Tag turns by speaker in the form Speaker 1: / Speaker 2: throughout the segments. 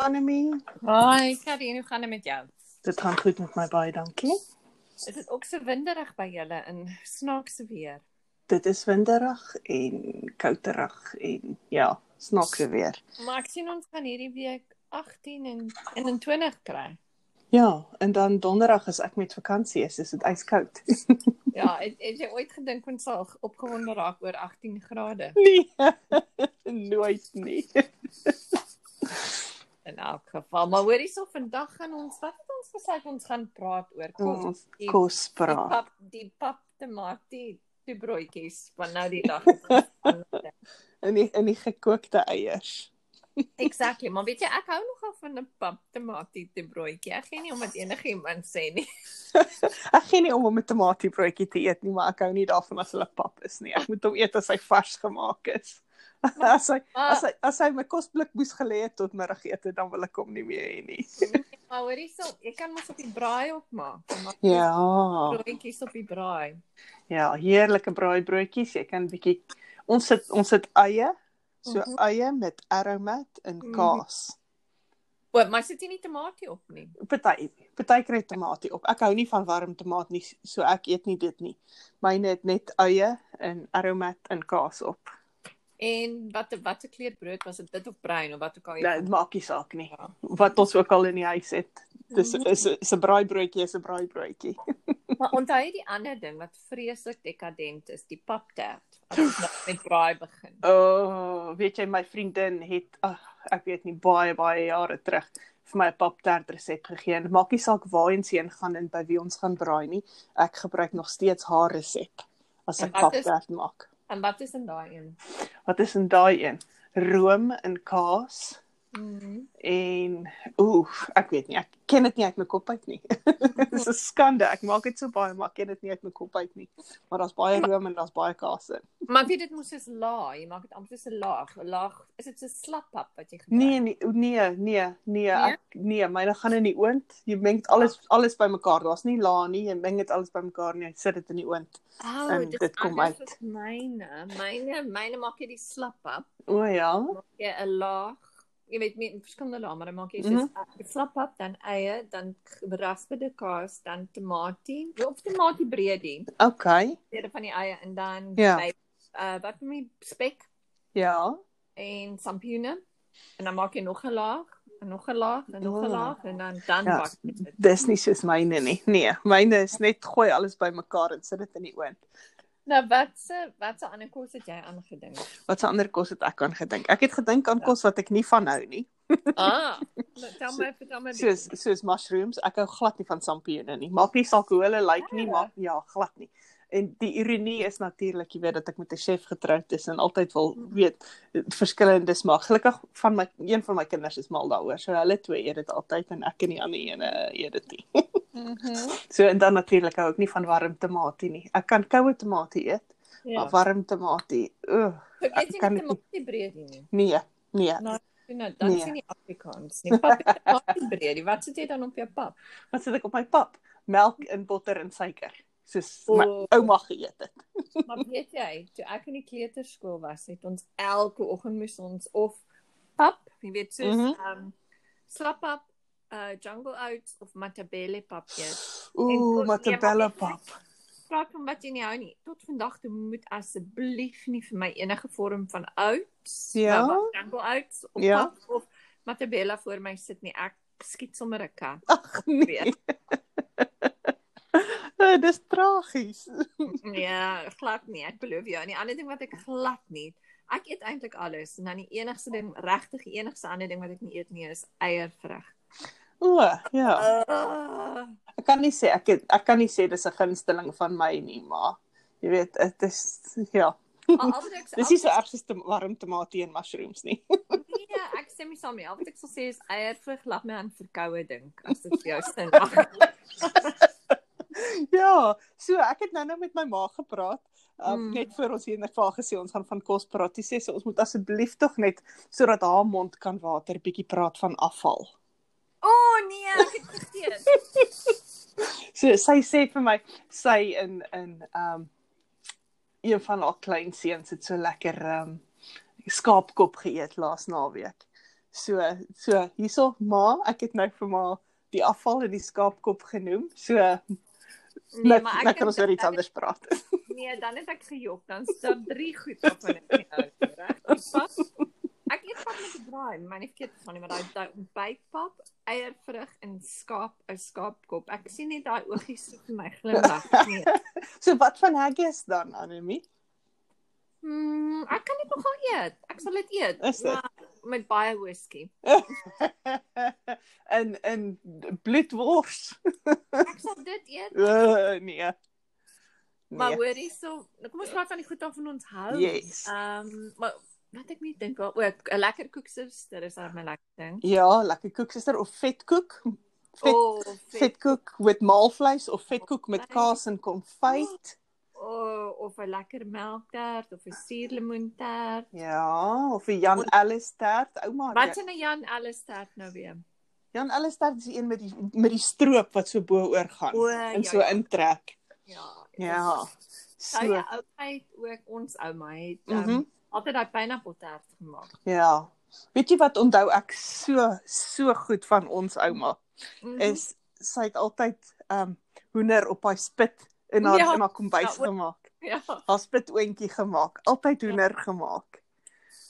Speaker 1: Anemie.
Speaker 2: Hi, Kadien, hoe gaan dit met jou?
Speaker 1: Dit gaan goed met my baie dankie.
Speaker 2: Is dit ook so winderig by julle in snaakse weer?
Speaker 1: Dit is winderig en kouterig en ja, snaakse weer.
Speaker 2: Maar ek sien ons gaan hierdie week 18 en 21 kry.
Speaker 1: Ja, en dan donderdag as ek met vakansie is, is dit yskoud.
Speaker 2: Ja, het, het jy ooit gedink ons sal opgewonde raak oor 18 grade
Speaker 1: nee. Nooit nie.
Speaker 2: in elk geval? Maar hoor hierso, vandag gaan ons wat het ons besluit ons gaan praat oor kos,
Speaker 1: Ons
Speaker 2: die,
Speaker 1: kos
Speaker 2: die
Speaker 1: Mm, praat.
Speaker 2: pap, die pap tamatie, die broodjies van nou die dag. is ons ander.
Speaker 1: In die in die gekookte eiers.
Speaker 2: exactly, maar weet jy ek hou nogal van 'n pap tamatie te broodjie. Ek gee nie om wat enigiemand sê nie.
Speaker 1: Ek gee nie om om 'n tomatiebroodjie te eet nie, maar ek hou nie daarvan as hulle pap is nie. Ek moet hom eet as hy vars gemaak is. As hy
Speaker 2: Maar,
Speaker 1: as hy as hy my kosblik moes gelê het tot middagete, dan wil ek hom nie meer hê nie.
Speaker 2: Maar hoor hierso, jy kan mos op die braai ook maak. Jy maak
Speaker 1: Ja.
Speaker 2: Broodjies op die braai.
Speaker 1: Ja, heerlike braaibroodjies. Jy kan bietjie ons sit ons sit eie, so
Speaker 2: Mhm.
Speaker 1: eie met aromat en
Speaker 2: Mhm.
Speaker 1: kaas.
Speaker 2: O, maar sit jy nie tomatie op nie.
Speaker 1: Party party kry tamatie op. Ek hou nie van warm tomaat nie, so ek eet nie dit nie. Myne het net eie en aromat en kaas op.
Speaker 2: En wat watter kleur brood was dit? Dit of bruin of wat ook al jy
Speaker 1: Nou, dit maak nie saak nie.
Speaker 2: Ja. Mhm.
Speaker 1: Wat ons ook al in die huis het. Dis is is 'n braaibroodjie, is 'n braaibroodjie.
Speaker 2: Maar onthou jy die ander ding wat vreeslik dekadent is, die paptert. As ons nou met braai begin.
Speaker 1: O, oh, weet jy my vriendin het ag, ek weet nie baie baie jare terug vir my 'n paptert resep gegee. En maak nie saak waarheen sy gaan en by wie ons gaan braai nie. Ek gebruik nog steeds haar resep as
Speaker 2: En
Speaker 1: ek
Speaker 2: wat is-
Speaker 1: paptert maak.
Speaker 2: En wat is in daai een?
Speaker 1: Wat is in daai een? Room en kaas
Speaker 2: Mm.
Speaker 1: en oef, ek weet nie. Ek ken dit nie uit my kop uit nie. Dis 'n skande. Ek maak dit so baie, maar ek ken dit nie uit my kop uit nie. Maar daar's baie room en daar's baie kaas in.
Speaker 2: Maar weet dit moes soos laag, jy maak dit amper soos 'n laag, 'n laag. Is dit so slap pap wat jy gebruik?
Speaker 1: Nee nee nee nee nee Ah.
Speaker 2: Nee?
Speaker 1: ek nee myne gaan in die oond. Jy meng alles alles bymekaar. Daar's nie la nie. Jy meng dit alles bymekaar en jy sit dit in die oond.
Speaker 2: oh,
Speaker 1: en dit kom
Speaker 2: anders
Speaker 1: uit.
Speaker 2: as Myne, myne, myne maak jy die slap pap
Speaker 1: O ja.
Speaker 2: maak jy 'n laag. Jy weet met verskillende lae, maar dan maak jy soos
Speaker 1: Mhm.
Speaker 2: mm -hmm. slappap, dan eie, dan gerasperde kaas, dan tamatie, of tamatiebreedie,
Speaker 1: OK.
Speaker 2: deur van die eie en dan
Speaker 1: Ja.
Speaker 2: by uh, wat noem jy spek
Speaker 1: Ja.
Speaker 2: en sampioene. En dan maak jy nog 'n laag, en nog 'n laag, en nog 'n
Speaker 1: Oh.
Speaker 2: laag en dan dan
Speaker 1: Ja.
Speaker 2: bak jy dit.
Speaker 1: Dis nie soos myne nie. Nee, myne is net gooi alles bymekaar en sit dit in die oond.
Speaker 2: Nou wat se wat se ander kos het jy aangedink?
Speaker 1: Wat se ander kos het ek aan gedink? Ek het gedink aan kos wat ek nie van hou nie.
Speaker 2: Ah, nou, tel my vertel my. bietjie.
Speaker 1: Soos soos mushrooms. Ek hou glad nie van sampioene nie. Maak nie saak hoe hulle lyk like nie, maar ja, glad nie. En die ironie is natuurlik, jy weet dat ek met 'n chef getroud is en altyd wil weet verskillendes maar gelukkig van my een van my kinders is mal daaroor. So hulle twee eet dit altyd en ek en die ander een eh, eet dit nie.
Speaker 2: Mhm.
Speaker 1: So en dan natuurlik hou ek nie van warm tamatie nie. Ek kan koue tamatie eet, ja.
Speaker 2: Ja.
Speaker 1: maar warm tamatie, ooh,
Speaker 2: Ek
Speaker 1: ek
Speaker 2: weet
Speaker 1: kan
Speaker 2: nie
Speaker 1: dit nie-
Speaker 2: tamatiebreedie nie.
Speaker 1: nee, nee.
Speaker 2: Nou, nou dan
Speaker 1: Nee.
Speaker 2: sien jy Afrikaans nie. Pap het 'n papie breedie. Wat sit jy dan op jou pap?
Speaker 1: Wat sit ek op my pap? Melk en botter en suiker. Soos my
Speaker 2: O.
Speaker 1: ouma geëet het.
Speaker 2: Maar weet jy, toe ek in die kleuterskool was, het ons elke oggend moes ons of pap, jy weet soos ehm mm
Speaker 1: Mhm.
Speaker 2: um, slappap, uh jungle oats of matabele pap eet.
Speaker 1: Ooh,
Speaker 2: En-
Speaker 1: matabella
Speaker 2: Ja, maar-
Speaker 1: pap.
Speaker 2: Vra ek hom wat jy nie hou nie. Tot vandag toe moet asseblief nie vir my enige vorm van oats,
Speaker 1: Ja.
Speaker 2: nou, wat jungle oats of
Speaker 1: Ja.
Speaker 2: ja. pap of matabele voor my sit nie. Ek skiet sommer 'n kat.
Speaker 1: Ag nee. Eh, Dis tragies.
Speaker 2: Ja, glad nie, ek beloof jou. En die ander ding wat ek glad nie eet, ek eet eintlik alles en dan die enigste ding, regtig die enigste ander ding wat ek nie eet nie is eiervrug.
Speaker 1: O, ja.
Speaker 2: Uh,
Speaker 1: Ek kan nie sê ek het, ek kan nie sê dis 'n gunsteling van my nie, maar jy weet, dit is ja. Dis nie so erg soos te- warm tamatie en mushrooms nie.
Speaker 2: nee, ek stem nie saam nie. Al wat ek sal sê is eiervrug laat my aan verkoue dink as dit vir jou sin maak.
Speaker 1: ja, so ek het nou-nou met my ma gepraat. Um,
Speaker 2: Mm.
Speaker 1: mm. net voor ons hier in die vaar gesê ons gaan van kos praat. Sy sê so, ons moet asseblief tog net sodat haar mond kan water bietjie praat van afval.
Speaker 2: O oh, nee, ek het vergeet.
Speaker 1: So sy sê vir my sy in in ehm um, een van haar klein seuns het so lekker ehm um, skaapkop geëet laas naweek. So so hierso ma, ek het nou vir ma die afval en die skaapkop genoem. So
Speaker 2: Nee,
Speaker 1: net
Speaker 2: maar ek
Speaker 1: net kan ons
Speaker 2: dink
Speaker 1: oor iets
Speaker 2: dat-
Speaker 1: anders praat.
Speaker 2: Nee, dan het ek gejok. Dan staan drie goed op in die ou, reg? Pas. Ek eet pap met 'n braai, maar nie verkeerd van nie, maar daai daai bytpap, eiervrug en skaap, ou skaapkop. Ek sien net daai oogies so vir my Nee. glimlag nie.
Speaker 1: So wat van haggis dan, Anemie?
Speaker 2: Mm, ek kan dit nogal eet. Ek sal dit eet,
Speaker 1: Is dit?
Speaker 2: maar met baie whisky.
Speaker 1: in in bloedwors.
Speaker 2: Ek sal dit eet,
Speaker 1: Uh, nee.
Speaker 2: maar
Speaker 1: Nee.
Speaker 2: hoor hierso, kom ons praat van die goed waarvan ons hou.
Speaker 1: Yes.
Speaker 2: Ehm, um, maar wat ek nie dink waar ook 'n lekker koeksuster is dan my lekker ding.
Speaker 1: Ja, lekker koeksuster of vetkoek. Vet, oh,
Speaker 2: O, vet.
Speaker 1: vetkoek met maalvleis of vetkoek met kaas en konfyt.
Speaker 2: O, of 'n lekker melktert of 'n suurlemoentert.
Speaker 1: Ja, of 'n Jan Ellis tert. Ouma, Ja,
Speaker 2: Wat s'n 'n Jan alles tert nou weer?
Speaker 1: Jan Ellis tert is die een met die met die stroop wat so bo oor gaan
Speaker 2: O,
Speaker 1: en
Speaker 2: ja,
Speaker 1: so
Speaker 2: ja. Oh,
Speaker 1: intrek.
Speaker 2: Ja.
Speaker 1: Ja. So,
Speaker 2: Sy so. ouma het ook ons ouma het um, mm
Speaker 1: Mhm.
Speaker 2: -hmm. altyd daai pineappeltert gemaak.
Speaker 1: ja. Weet jy wat onthou ek so so goed van ons ouma?
Speaker 2: Mm
Speaker 1: is sy het altyd ehm um, hoender op haar spit in haar
Speaker 2: Ja,
Speaker 1: in haar kombuis
Speaker 2: ja, o-
Speaker 1: gemaak.
Speaker 2: ja.
Speaker 1: Haar spitoentjie gemaak, altyd hoender gemaak.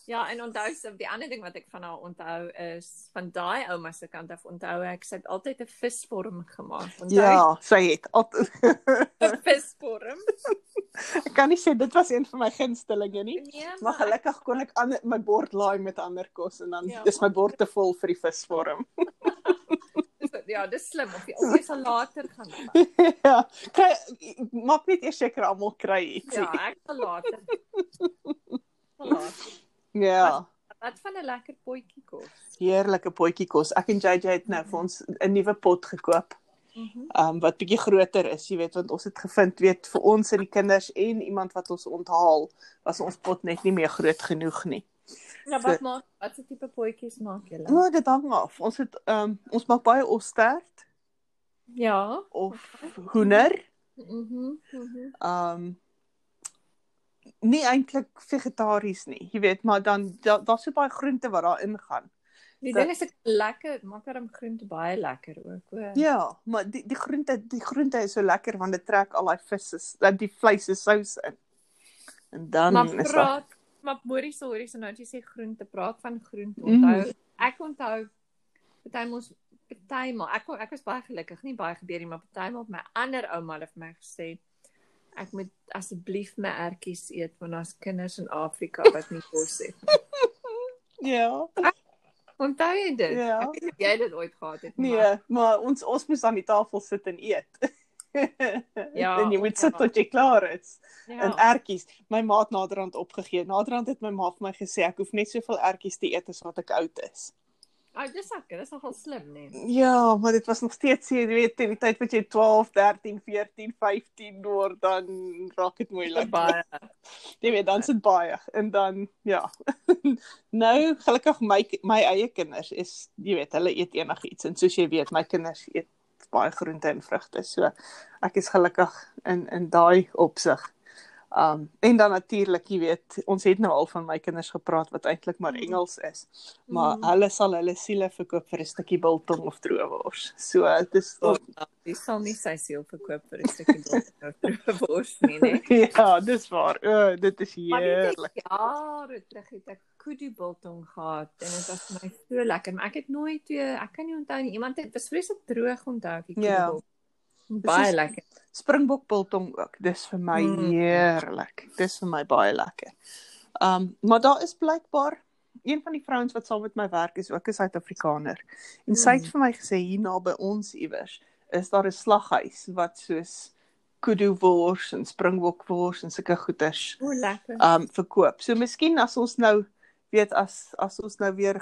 Speaker 2: Ja, en onthou se die ander ding wat ek van haar onthou is van daai ouma se kant af onthou ek sy het altyd 'n visvorm gemaak. Onthou ja.
Speaker 1: Ja, sy het altyd
Speaker 2: 'n visvorm.
Speaker 1: ek kan nie sê dit was een van my gunstelinge nie.
Speaker 2: Nee,
Speaker 1: Maar gelukkig kon ek ander my bord laai met ander kos en dan
Speaker 2: Ja.
Speaker 1: ja. is my bord te vol vir die visvorm.
Speaker 2: Dis- Ja, dis slim of jy of jy sal later gaan. vat.
Speaker 1: ja, kry maak net eers seker almal kry ietsie.
Speaker 2: Ja, ek sal later. Sal later.
Speaker 1: Ja. ja.
Speaker 2: Wat van 'n lekker potjie kos?
Speaker 1: Heerlike potjie kos. Ek en JJ het nou vir ons 'n nuwe pot gekoop.
Speaker 2: Mhm.
Speaker 1: um wat bietjie groter is, jy weet, want ons het gevind weet vir ons en die kinders en iemand wat ons onthaal, was ons pot net nie meer groot genoeg nie.
Speaker 2: Ja,
Speaker 1: wat
Speaker 2: wat maak wat se tipe potjies maak
Speaker 1: O,
Speaker 2: julle?
Speaker 1: oh, dit hang af. Ons het um ons maak baie ostert
Speaker 2: Ja.
Speaker 1: of hoender.
Speaker 2: Mhm. mhm.
Speaker 1: Um nie eintlik vegetaries nie, jy weet, maar dan da- daar's so baie groente wat daarin gaan.
Speaker 2: Die
Speaker 1: Dat-
Speaker 2: ding is ek lekker, maak daarom groente baie lekker ook, hoor.
Speaker 1: Ja, maar die die groente die groente is so lekker want dit trek al daai visse, dat die vleis se sous in. En dan
Speaker 2: Maar
Speaker 1: is daar
Speaker 2: praat, maar hoorie so hoorie so nou as jy sê groente, praat van groente.
Speaker 1: Mhm.
Speaker 2: Onthou, ek onthou party mos party maar ek kon- ek was baie gelukkig, nie baie gebeur nie, maar party maar op my ander ouma het vir my gesê ek moet asseblief my ertjies eet want daar's kinders in Afrika wat nie kos het. nie."
Speaker 1: Ja.
Speaker 2: Onthou jy dit?
Speaker 1: Ja.
Speaker 2: Ek weet nie of jy dit ooit gehad het nie, maar
Speaker 1: Nee, maar ons ons moes aan die tafel sit en eet.
Speaker 2: Ja,
Speaker 1: en jy moet sit
Speaker 2: ja.
Speaker 1: tot jy klaar is. Ja. En
Speaker 2: Ja.
Speaker 1: ertjies. My ma het naderhand opgegee. Naderhand het my ma vir my gesê ek hoef net soveel ertjies te eet as wat ek oud is.
Speaker 2: Ou, dis lekker, dis nogal slim, nee.
Speaker 1: Ja, maar dit was nog steeds jy weet teen die tyd wat jy 12, 13, 14, 15 word dan raak dit moeilik.
Speaker 2: Baie.
Speaker 1: Jy weet dan sit baie en dan ja. nou gelukkig my my eie kinders is jy weet hulle eet enigiets en soos jy weet my kinders eet baie groente en vrugte. So ek is gelukkig in in daai opsig. Um en dan natuurlik, jy weet, ons het nou al van my kinders gepraat wat eintlik maar Engels is. Maar
Speaker 2: Mhm.
Speaker 1: mm. hulle sal hulle siele verkoop vir 'n stukkie biltong of droewors. So dis
Speaker 2: Oh, Jy sal nie sy siel verkoop vir 'n stukkie brood wors nie, nee.
Speaker 1: ja, dis waar. O, oh, dit is
Speaker 2: Maar dit
Speaker 1: heerlik.
Speaker 2: is jare terug het ek kudu biltong gehad en dit was vir my so lekker, maar ek het nooit weer ek kan nie onthou nie. Iemand het bespreek dit droog onthou ek die kudu
Speaker 1: Ja.
Speaker 2: biltong. Baie
Speaker 1: Dis-
Speaker 2: lekker.
Speaker 1: Springbok biltong ook. Dis vir my
Speaker 2: Mm.
Speaker 1: mm. heerlik. Dis vir my baie lekker. Um maar daar is blykbaar een van die vrouens wat saam met my werk is ook 'n Suid-Afrikaner. En sy het
Speaker 2: Mm.
Speaker 1: vir my gesê hier naby ons iewers is daar 'n slaghuis wat soos kudu wors en springbok wors en sulke goeders
Speaker 2: O, lekker.
Speaker 1: um verkoop. So miskien as ons nou weet as as ons nou weer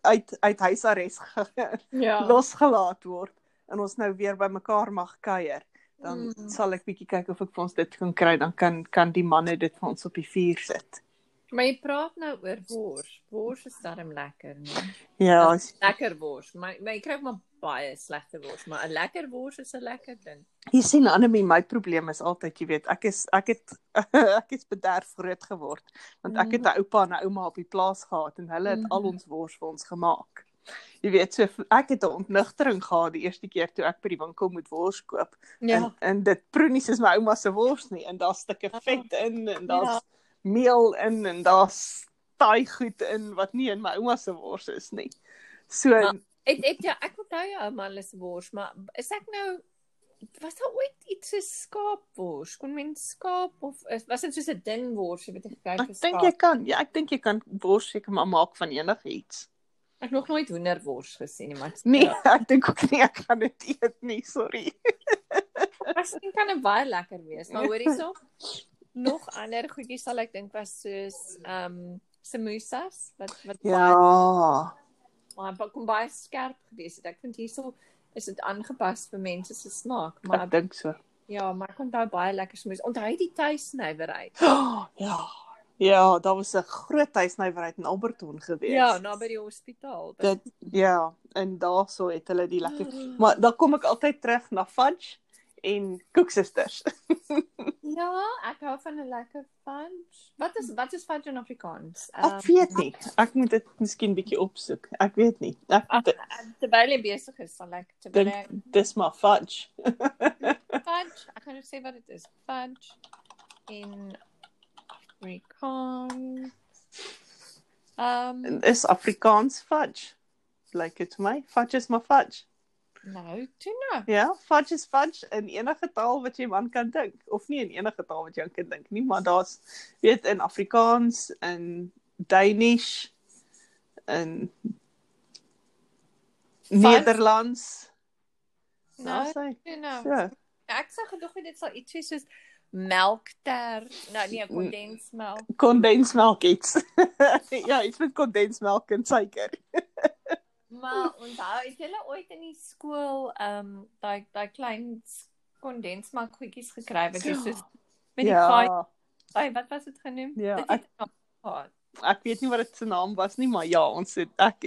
Speaker 1: uit uit huisarrest ge-
Speaker 2: Ja.
Speaker 1: losgelaat word en ons nou weer bymekaar mag kuier, dan
Speaker 2: Mm.
Speaker 1: mm. sal ek bietjie kyk of ek vir ons dit kan kry, dan kan kan die manne dit vir ons op die vuur sit.
Speaker 2: Maar jy praat nou oor wors. Wors is darm lekker, nee.
Speaker 1: Ja, is-
Speaker 2: Lekker wors. Maar maar jy kry ook maar baie slegte wors, maar 'n lekker wors is 'n lekker ding.
Speaker 1: Jy sien Anemie, my probleem is altyd, jy weet, ek is ek het ek is bederf groot geword want ek het 'n oupa en 'n ouma op die plaas gehad en hulle het al ons wors vir ons gemaak. Jy weet, so ek het 'n ontnigtering gehad die eerste keer toe ek by die winkel moet wors koop en en dit proenie soos my ouma se wors nie en daar's stukke vet in en daar's
Speaker 2: Ja.
Speaker 1: meel in en daar's taai goed in wat nie in my ouma se wors is nie. So
Speaker 2: Maar- Ek ek ja, ek onthou jou ouma se wors, maar is ek nou was daar ooit iets so skaapwors? Kon mens skaap of is, was dit soos 'n ding wors wat jy gekry het
Speaker 1: ek
Speaker 2: vir
Speaker 1: dink
Speaker 2: skaap?
Speaker 1: jy kan, ja, ek dink jy kan wors seker maar maak van enigiets.
Speaker 2: Ek het nog nooit hoenderwors gesien nie, maar ek-
Speaker 1: Nee, ja. ek dink ook nie ek gaan dit eet nie, sorry.
Speaker 2: Miskien kan dit baie lekker wees, maar hoor hierso. Nog ander goedjies sal ek dink was soos ehm um, samosas wat wat
Speaker 1: Ja.
Speaker 2: baie baie kom baie skerp gewees het. Ek vind hierso is dit aangepas vir mense se smaak, maar
Speaker 1: Ek dink so.
Speaker 2: ja, maar ek onthou baie lekker smoes. Onthou die tuisnywerheid.
Speaker 1: Ja. Ja, daar was 'n groot huisnywerheid in Alberton gewees.
Speaker 2: Ja, naby die hospitaal.
Speaker 1: dit ja, en daarso het hulle die lekker Maar dan kom ek altyd terug na fudge en koeksisters.
Speaker 2: Ja, ek hou van 'n lekker punch. Wat is wat is punch in Afrikaans? Ehm,
Speaker 1: Ek weet
Speaker 2: ja.
Speaker 1: nie. Ek moet dit miskien bietjie opsoek. Ek weet nie. Ek
Speaker 2: Ag,
Speaker 1: d-
Speaker 2: terwyl jy besig is, sal ek terwyl
Speaker 1: dink
Speaker 2: ek
Speaker 1: dis maar fudge.
Speaker 2: Fudge. Ek gaan net sê wat dit is. Fudge in Afrikaans. Ehm um,
Speaker 1: En Is Afrikaans fudge. Lyk dit vir my. Fudge is maar fudge.
Speaker 2: nou, toe nou.
Speaker 1: Ja, fudge is fudge in enige taal wat jy man kan dink of nie in enige taal wat jy aan kan dink nie, maar daar's weet in Afrikaans, in Danish, in Nederlands.
Speaker 2: Nou,
Speaker 1: Daar's hy.
Speaker 2: toe nou.
Speaker 1: So,
Speaker 2: Ek sê gedog het dit sal ietsie soos melkter, nou
Speaker 1: Mm.
Speaker 2: nee, kondensmelk.
Speaker 1: kondensmelk iets. ja, iets met kondensmelk en suiker.
Speaker 2: Maar onthou, het julle ooit in die skool ehm um, daai daai klein s- kondensmelk goedjies gekry wat jy soos met die gaai,
Speaker 1: ja,
Speaker 2: daai wat was dit genoem?
Speaker 1: Ja,
Speaker 2: Ja, dit het ek gehad.
Speaker 1: ek weet nie wat dit se naam was nie, maar ja, ons het ek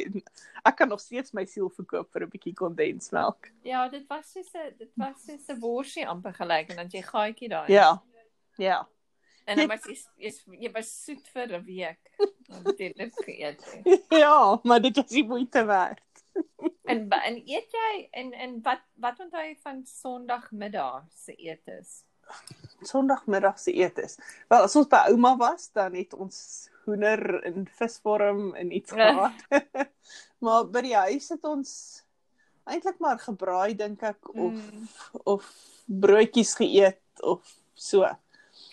Speaker 1: ek kan nog steeds my siel verkoop vir 'n bietjie kondensmelk.
Speaker 2: Ja, dit was soos 'n dit was soos 'n worsie amper gelyk en dan jy gaatjie daai.
Speaker 1: Ja. Ja.
Speaker 2: En dan was jy jy's- jy was soet vir 'n week. want Jy het dit geëet. het.
Speaker 1: Ja, maar dit was die moeite werd.
Speaker 2: En ba- en eet jy en en wat wat onthou jy van Sondagmiddag se etes?
Speaker 1: Sondagmiddag se eet is. Wel, as ons by ouma was, dan het ons hoender in visvorm en iets
Speaker 2: Ja.
Speaker 1: gehad. maar by die huis het ons eintlik maar gebraai dink ek of
Speaker 2: Mm.
Speaker 1: of broodjies geëet of so.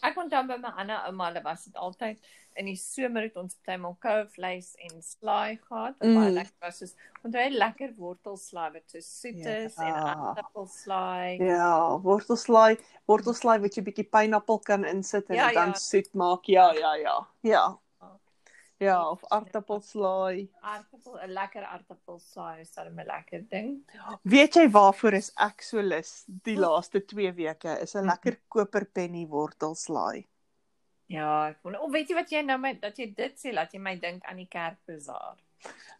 Speaker 2: Ek onthou by my ander ouma, hulle was dit altyd in die somer het ons partymal kou vleis en slaai gehad wat baie
Speaker 1: Mm.
Speaker 2: lekker was. Soos onthou jy lekker wortelslaai wat so soet is en
Speaker 1: Ja.
Speaker 2: aardappelslaai.
Speaker 1: Ja, wortelslaai, wortelslaai wat jy bietjie pineappel kan insit en
Speaker 2: Ja,
Speaker 1: ja, dan ja.
Speaker 2: ja.
Speaker 1: soet maak. Ja, ja, ja. Ja. Ja, of aartappelslaai.
Speaker 2: aartappel, 'n lekker aartappelsaai is dan 'n lekker ding.
Speaker 1: Weet jy waarvoor is ek so lus die laaste 2 weke? Is 'n lekker koperpenny wortelslaai.
Speaker 2: Ja, ek wonder, of weet jy wat jy nou my dat jy dit sê laat jy my dink aan die kerkbazaar.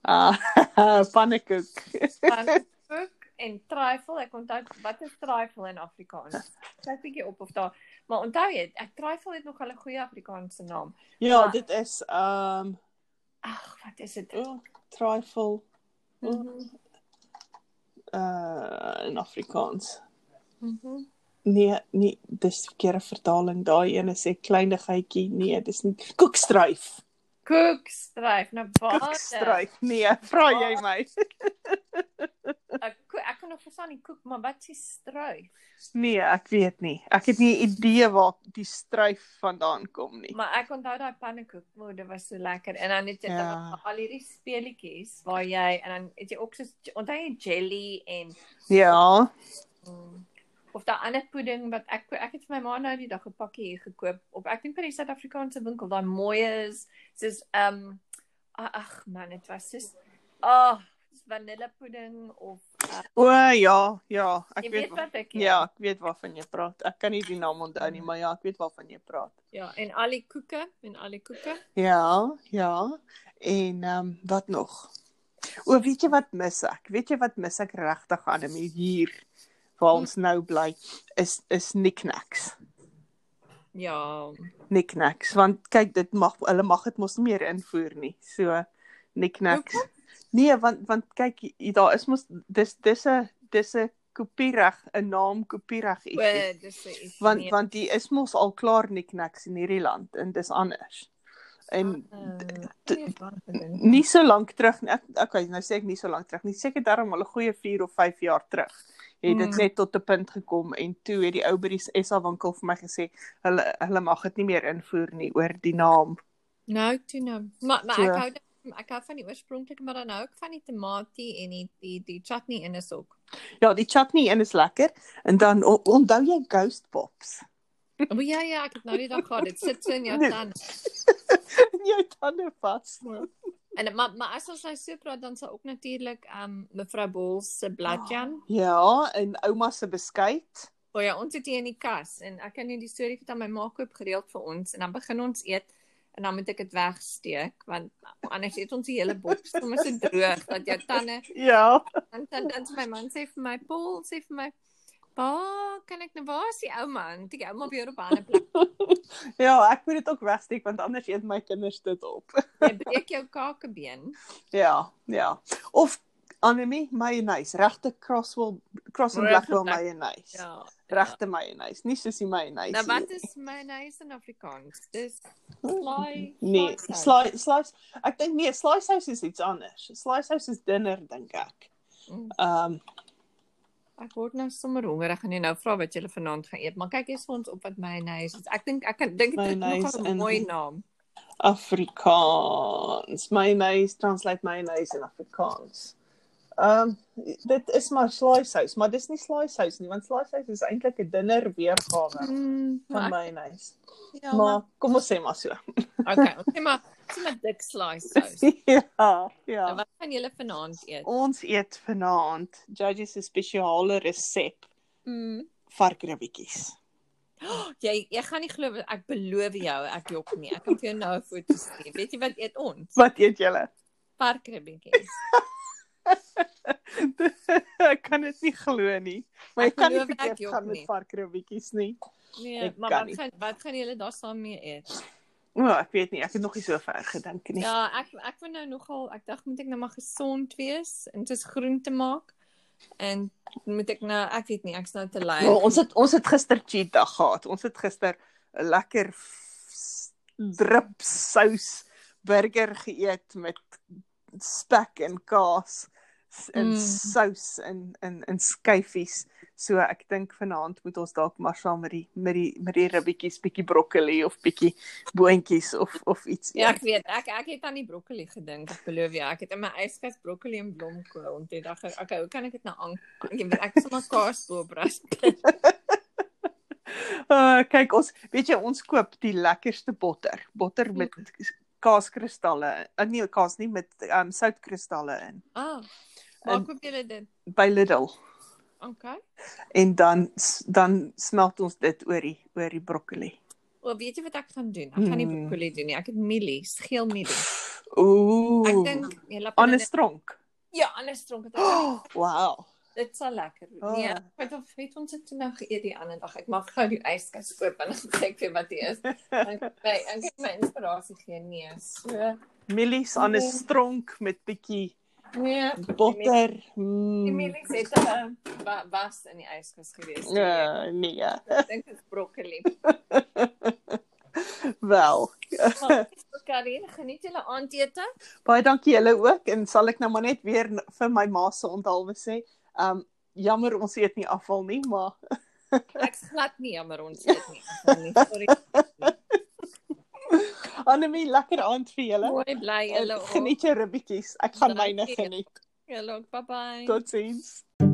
Speaker 1: Ah, pannekoek.
Speaker 2: Pannekoek en trifle, ek onthou wat is trifle in Afrikaans? Kyk bietjie op of daar, maar onthou jy, ek trifle het nog 'n goeie Afrikaanse naam.
Speaker 1: Ja,
Speaker 2: Maar-
Speaker 1: dit is ehm um,
Speaker 2: Ag, wat is dit?
Speaker 1: oh, trifle
Speaker 2: Mhm,
Speaker 1: uh in Afrikaans.
Speaker 2: mhm.
Speaker 1: Nee, nee, dis verkeerde vertaling. Daai een sê kleinigheidjie. Nee, dis nie koekstryf.
Speaker 2: Koekstryf, nou baie.
Speaker 1: Koekstryf. Nee, vra jy my.
Speaker 2: Ek ek kan nog verstaan die koek, maar wat is die stryf?
Speaker 1: Nee, ek weet nie. Ek het nie 'n idee waar die stryf vandaan kom nie.
Speaker 2: Maar ek onthou daai pannekoek, o, dit was so lekker. En dan het jy
Speaker 1: Ja.
Speaker 2: ja. al hierdie speletjies waar jy en dan het jy ook so onthou jy jelly en
Speaker 1: Ja.
Speaker 2: mm, of daai ander pudding wat ek ek het vir my ma nou die dag 'n pakkie hier gekoop op ek dink by die Suid-Afrikaanse winkel, daai mooi is soos ehm um, ag man, dit was soos ah oh, vanillepudding of uh,
Speaker 1: O ja, ja, ek
Speaker 2: jy
Speaker 1: weet.
Speaker 2: weet
Speaker 1: wa-
Speaker 2: wat ek
Speaker 1: Ja, ek weet waarvan jy praat. Ek kan nie die naam onthou nie, maar ja, ek weet waarvan jy praat.
Speaker 2: ja, en al die koeke en al die koeke.
Speaker 1: Ja, ja. En ehm um, wat nog? O, weet jy wat mis ek? Weet jy wat mis ek regtig aan hom hier waar ons nou bly is is knickknacks.
Speaker 2: Ja.
Speaker 1: Knickknacks want kyk dit mag hulle mag dit mos nie meer invoer nie. So knickknacks. Nee, want want kyk hier, daar is mos dis dis 'n dis 'n kopiereg 'n naam kopiereg
Speaker 2: O,
Speaker 1: ietsie.
Speaker 2: dis 'n issue.
Speaker 1: Want
Speaker 2: nee.
Speaker 1: want die is mos al klaar knickknacks in hierdie land en dis anders. En
Speaker 2: Uh, ek weet nie wat ek dink.
Speaker 1: nie so lank terug nie. Ek okay, nou sê ek nie so lank terug nie. Seker daarom al 'n goeie 4 of 5 jaar terug. Het dit
Speaker 2: Mm.
Speaker 1: net tot 'n punt gekom en toe het die ou by die SA winkel vir my gesê hulle hulle mag dit nie meer invoer nie oor die naam.
Speaker 2: Nou toe nou. Maar maar
Speaker 1: So.
Speaker 2: ek hou dan- ek hou van die oorspronklike, maar dan hou ek van die tamatie en die die die chutney in is ook.
Speaker 1: Ja, die chutney in is lekker en dan o- onthou jy ghost pops.
Speaker 2: O ja ja, ek het nou die dag gehad. Dit sit so in jou
Speaker 1: Nee.
Speaker 2: tand.
Speaker 1: En jou tande vas.
Speaker 2: En maar maar as ons nou so praat dan sal ook natuurlik ehm um, mevrou Bol se bladjan.
Speaker 1: Ja, en ouma se beskuit.
Speaker 2: O ja, ons het hier in die kas en ek kan nie die storie vertel my ma koop gereeld vir ons en dan begin ons eet en dan moet ek dit wegsteek want anders eet ons die hele boks sommer so droog dat jou tande
Speaker 1: Ja.
Speaker 2: dan dan dan sê my man sê vir my Paul sê vir my Pa, kan ek nou waar is die ou man? Die ou man weer op 'n ander plek.
Speaker 1: Ja, ek moet dit ook wegsteek want anders eet my kinders dit op.
Speaker 2: Jy breek jou kakebeen.
Speaker 1: Ja, ja. Of Annemie mayonnaise, regte Crosswell Cross and
Speaker 2: Regte
Speaker 1: Blackwell
Speaker 2: black-
Speaker 1: mayonnaise.
Speaker 2: Ja.
Speaker 1: Regte mayonnaise, nie soos die mayonnaise.
Speaker 2: Nou wat is mayonnaise in Afrikaans? Dis slaai.
Speaker 1: Nee,
Speaker 2: saus.
Speaker 1: slice slice ek dink nee, slice house is iets anders. Slice house is dunner dink ek.
Speaker 2: Mm.
Speaker 1: Ehm um,
Speaker 2: Ek word nou sommer hongerig en jy nou vra wat jy vanaand gaan eet, maar kyk eers vir ons op wat mayonnaise is. Ek dink ek kan dink dit is nog
Speaker 1: Mayonnaise
Speaker 2: 'n
Speaker 1: in-
Speaker 2: mooi naam.
Speaker 1: Afrikaans. Mayonnaise translate mayonnaise in Afrikaans. Ehm um, dit is maar slice house, maar dis nie slice house nie want slice house is eintlik 'n dunner weergawe
Speaker 2: Mm,
Speaker 1: van
Speaker 2: maar,
Speaker 1: mayonnaise.
Speaker 2: ek- ja, maar
Speaker 1: Maar kom ons sê maar so.
Speaker 2: okay, ons sê maar sê maar dik slice sous.
Speaker 1: ja, ja.
Speaker 2: Nou wat gaan julle vanaand eet?
Speaker 1: Ons eet vanaand Judges se spesiale resep
Speaker 2: Mm.
Speaker 1: varkribbetjies.
Speaker 2: Jy jy gaan nie glo ek beloof jou ek jok nie. Ek kan vir jou nou 'n foto stuur. Weet jy wat eet ons? er
Speaker 1: Wat eet julle?
Speaker 2: Parkribbetjies.
Speaker 1: ek kan dit nie glo nie. Maar
Speaker 2: Ek
Speaker 1: jy kan nie
Speaker 2: geloof ek
Speaker 1: verkeerd
Speaker 2: jok
Speaker 1: gaan
Speaker 2: nie.
Speaker 1: met varkribbetjies nie.
Speaker 2: Nee,
Speaker 1: Ek
Speaker 2: maar
Speaker 1: kan
Speaker 2: wat
Speaker 1: nie.
Speaker 2: gaan wat gaan julle daar saam mee eet?
Speaker 1: O, oh, ek weet nie, ek het nog nie so ver gedink nie.
Speaker 2: Ja, ek ek wil nou nogal ek dink moet ek nou maar gesond wees en soos groente maak. En moet ek nou ek weet nie, ek's nou te lui.
Speaker 1: Wel, ons het ons het gister cheat dag gehad. Ons het gister 'n lekker s- drip sous burger geëet met spek en kaas s- en
Speaker 2: Mm.
Speaker 1: mm. sous en en en skyfies. So ek dink vanaand moet ons dalk maar saam met die met die met die ribbetjies bietjie broccoli of bietjie boontjies of of iets
Speaker 2: Ja,
Speaker 1: eet.
Speaker 2: ek weet. Ek ek het aan die broccoli gedink. Ek beloof jou, ek het in my yskas broccoli en blomkool en toe dink ek, okay, hoe kan ek dit nou aan? Jy weet, ek sal maar kaas bo brasp.
Speaker 1: Uh kyk ons, weet jy ons koop die lekkerste botter, botter met
Speaker 2: Mm.
Speaker 1: kaaskristalle. Uh, nee, kaas nie met um soutkristalle in.
Speaker 2: Ah. Waar
Speaker 1: En-
Speaker 2: koop julle dit?
Speaker 1: by Lidl
Speaker 2: Okay.
Speaker 1: en dan s- dan smelt ons dit oor die oor die broccoli.
Speaker 2: O, weet jy wat ek gaan doen? Ek gaan nie
Speaker 1: Hmm.
Speaker 2: broccoli doen nie. Ek het mielies, geel mielies.
Speaker 1: Ooh.
Speaker 2: Ek dink jy laat
Speaker 1: aan 'n stronk.
Speaker 2: ja, anders dronk dit. Oh.
Speaker 1: Oh, wow.
Speaker 2: Dit sal lekker wees.
Speaker 1: Oh.
Speaker 2: Nee, ek weet of het ons dit nou geëet die ander dag. Ek mag gou die yskas oop en dan kyk vir wat dit is. Ek my ek het my inspirasie gee nee. So
Speaker 1: Mielies aan 'n
Speaker 2: Nee.
Speaker 1: stronk met bietjie
Speaker 2: nee,
Speaker 1: botter.
Speaker 2: die
Speaker 1: Mm.
Speaker 2: mielies het uh, wa, was in die yskas gewees.
Speaker 1: Ja, nee. ja.
Speaker 2: Ek dink dit is broccoli.
Speaker 1: Wel,
Speaker 2: Maar Karin, geniet julle aandete.
Speaker 1: baie dankie julle ook en sal ek nou maar net weer n- vir my ma se onthaalwe sê, um jammer ons eet nie afval nie, maar
Speaker 2: Ek's glad nie jammer ons eet nie. Sorry.
Speaker 1: Annelie, lekker aand vir julle.
Speaker 2: Mooi bly
Speaker 1: En
Speaker 2: julle. ook.
Speaker 1: Geniet jou ribbetjies. Ek gaan myne
Speaker 2: Dankie.
Speaker 1: geniet.
Speaker 2: Julle ook. Bye bye.
Speaker 1: Totsiens.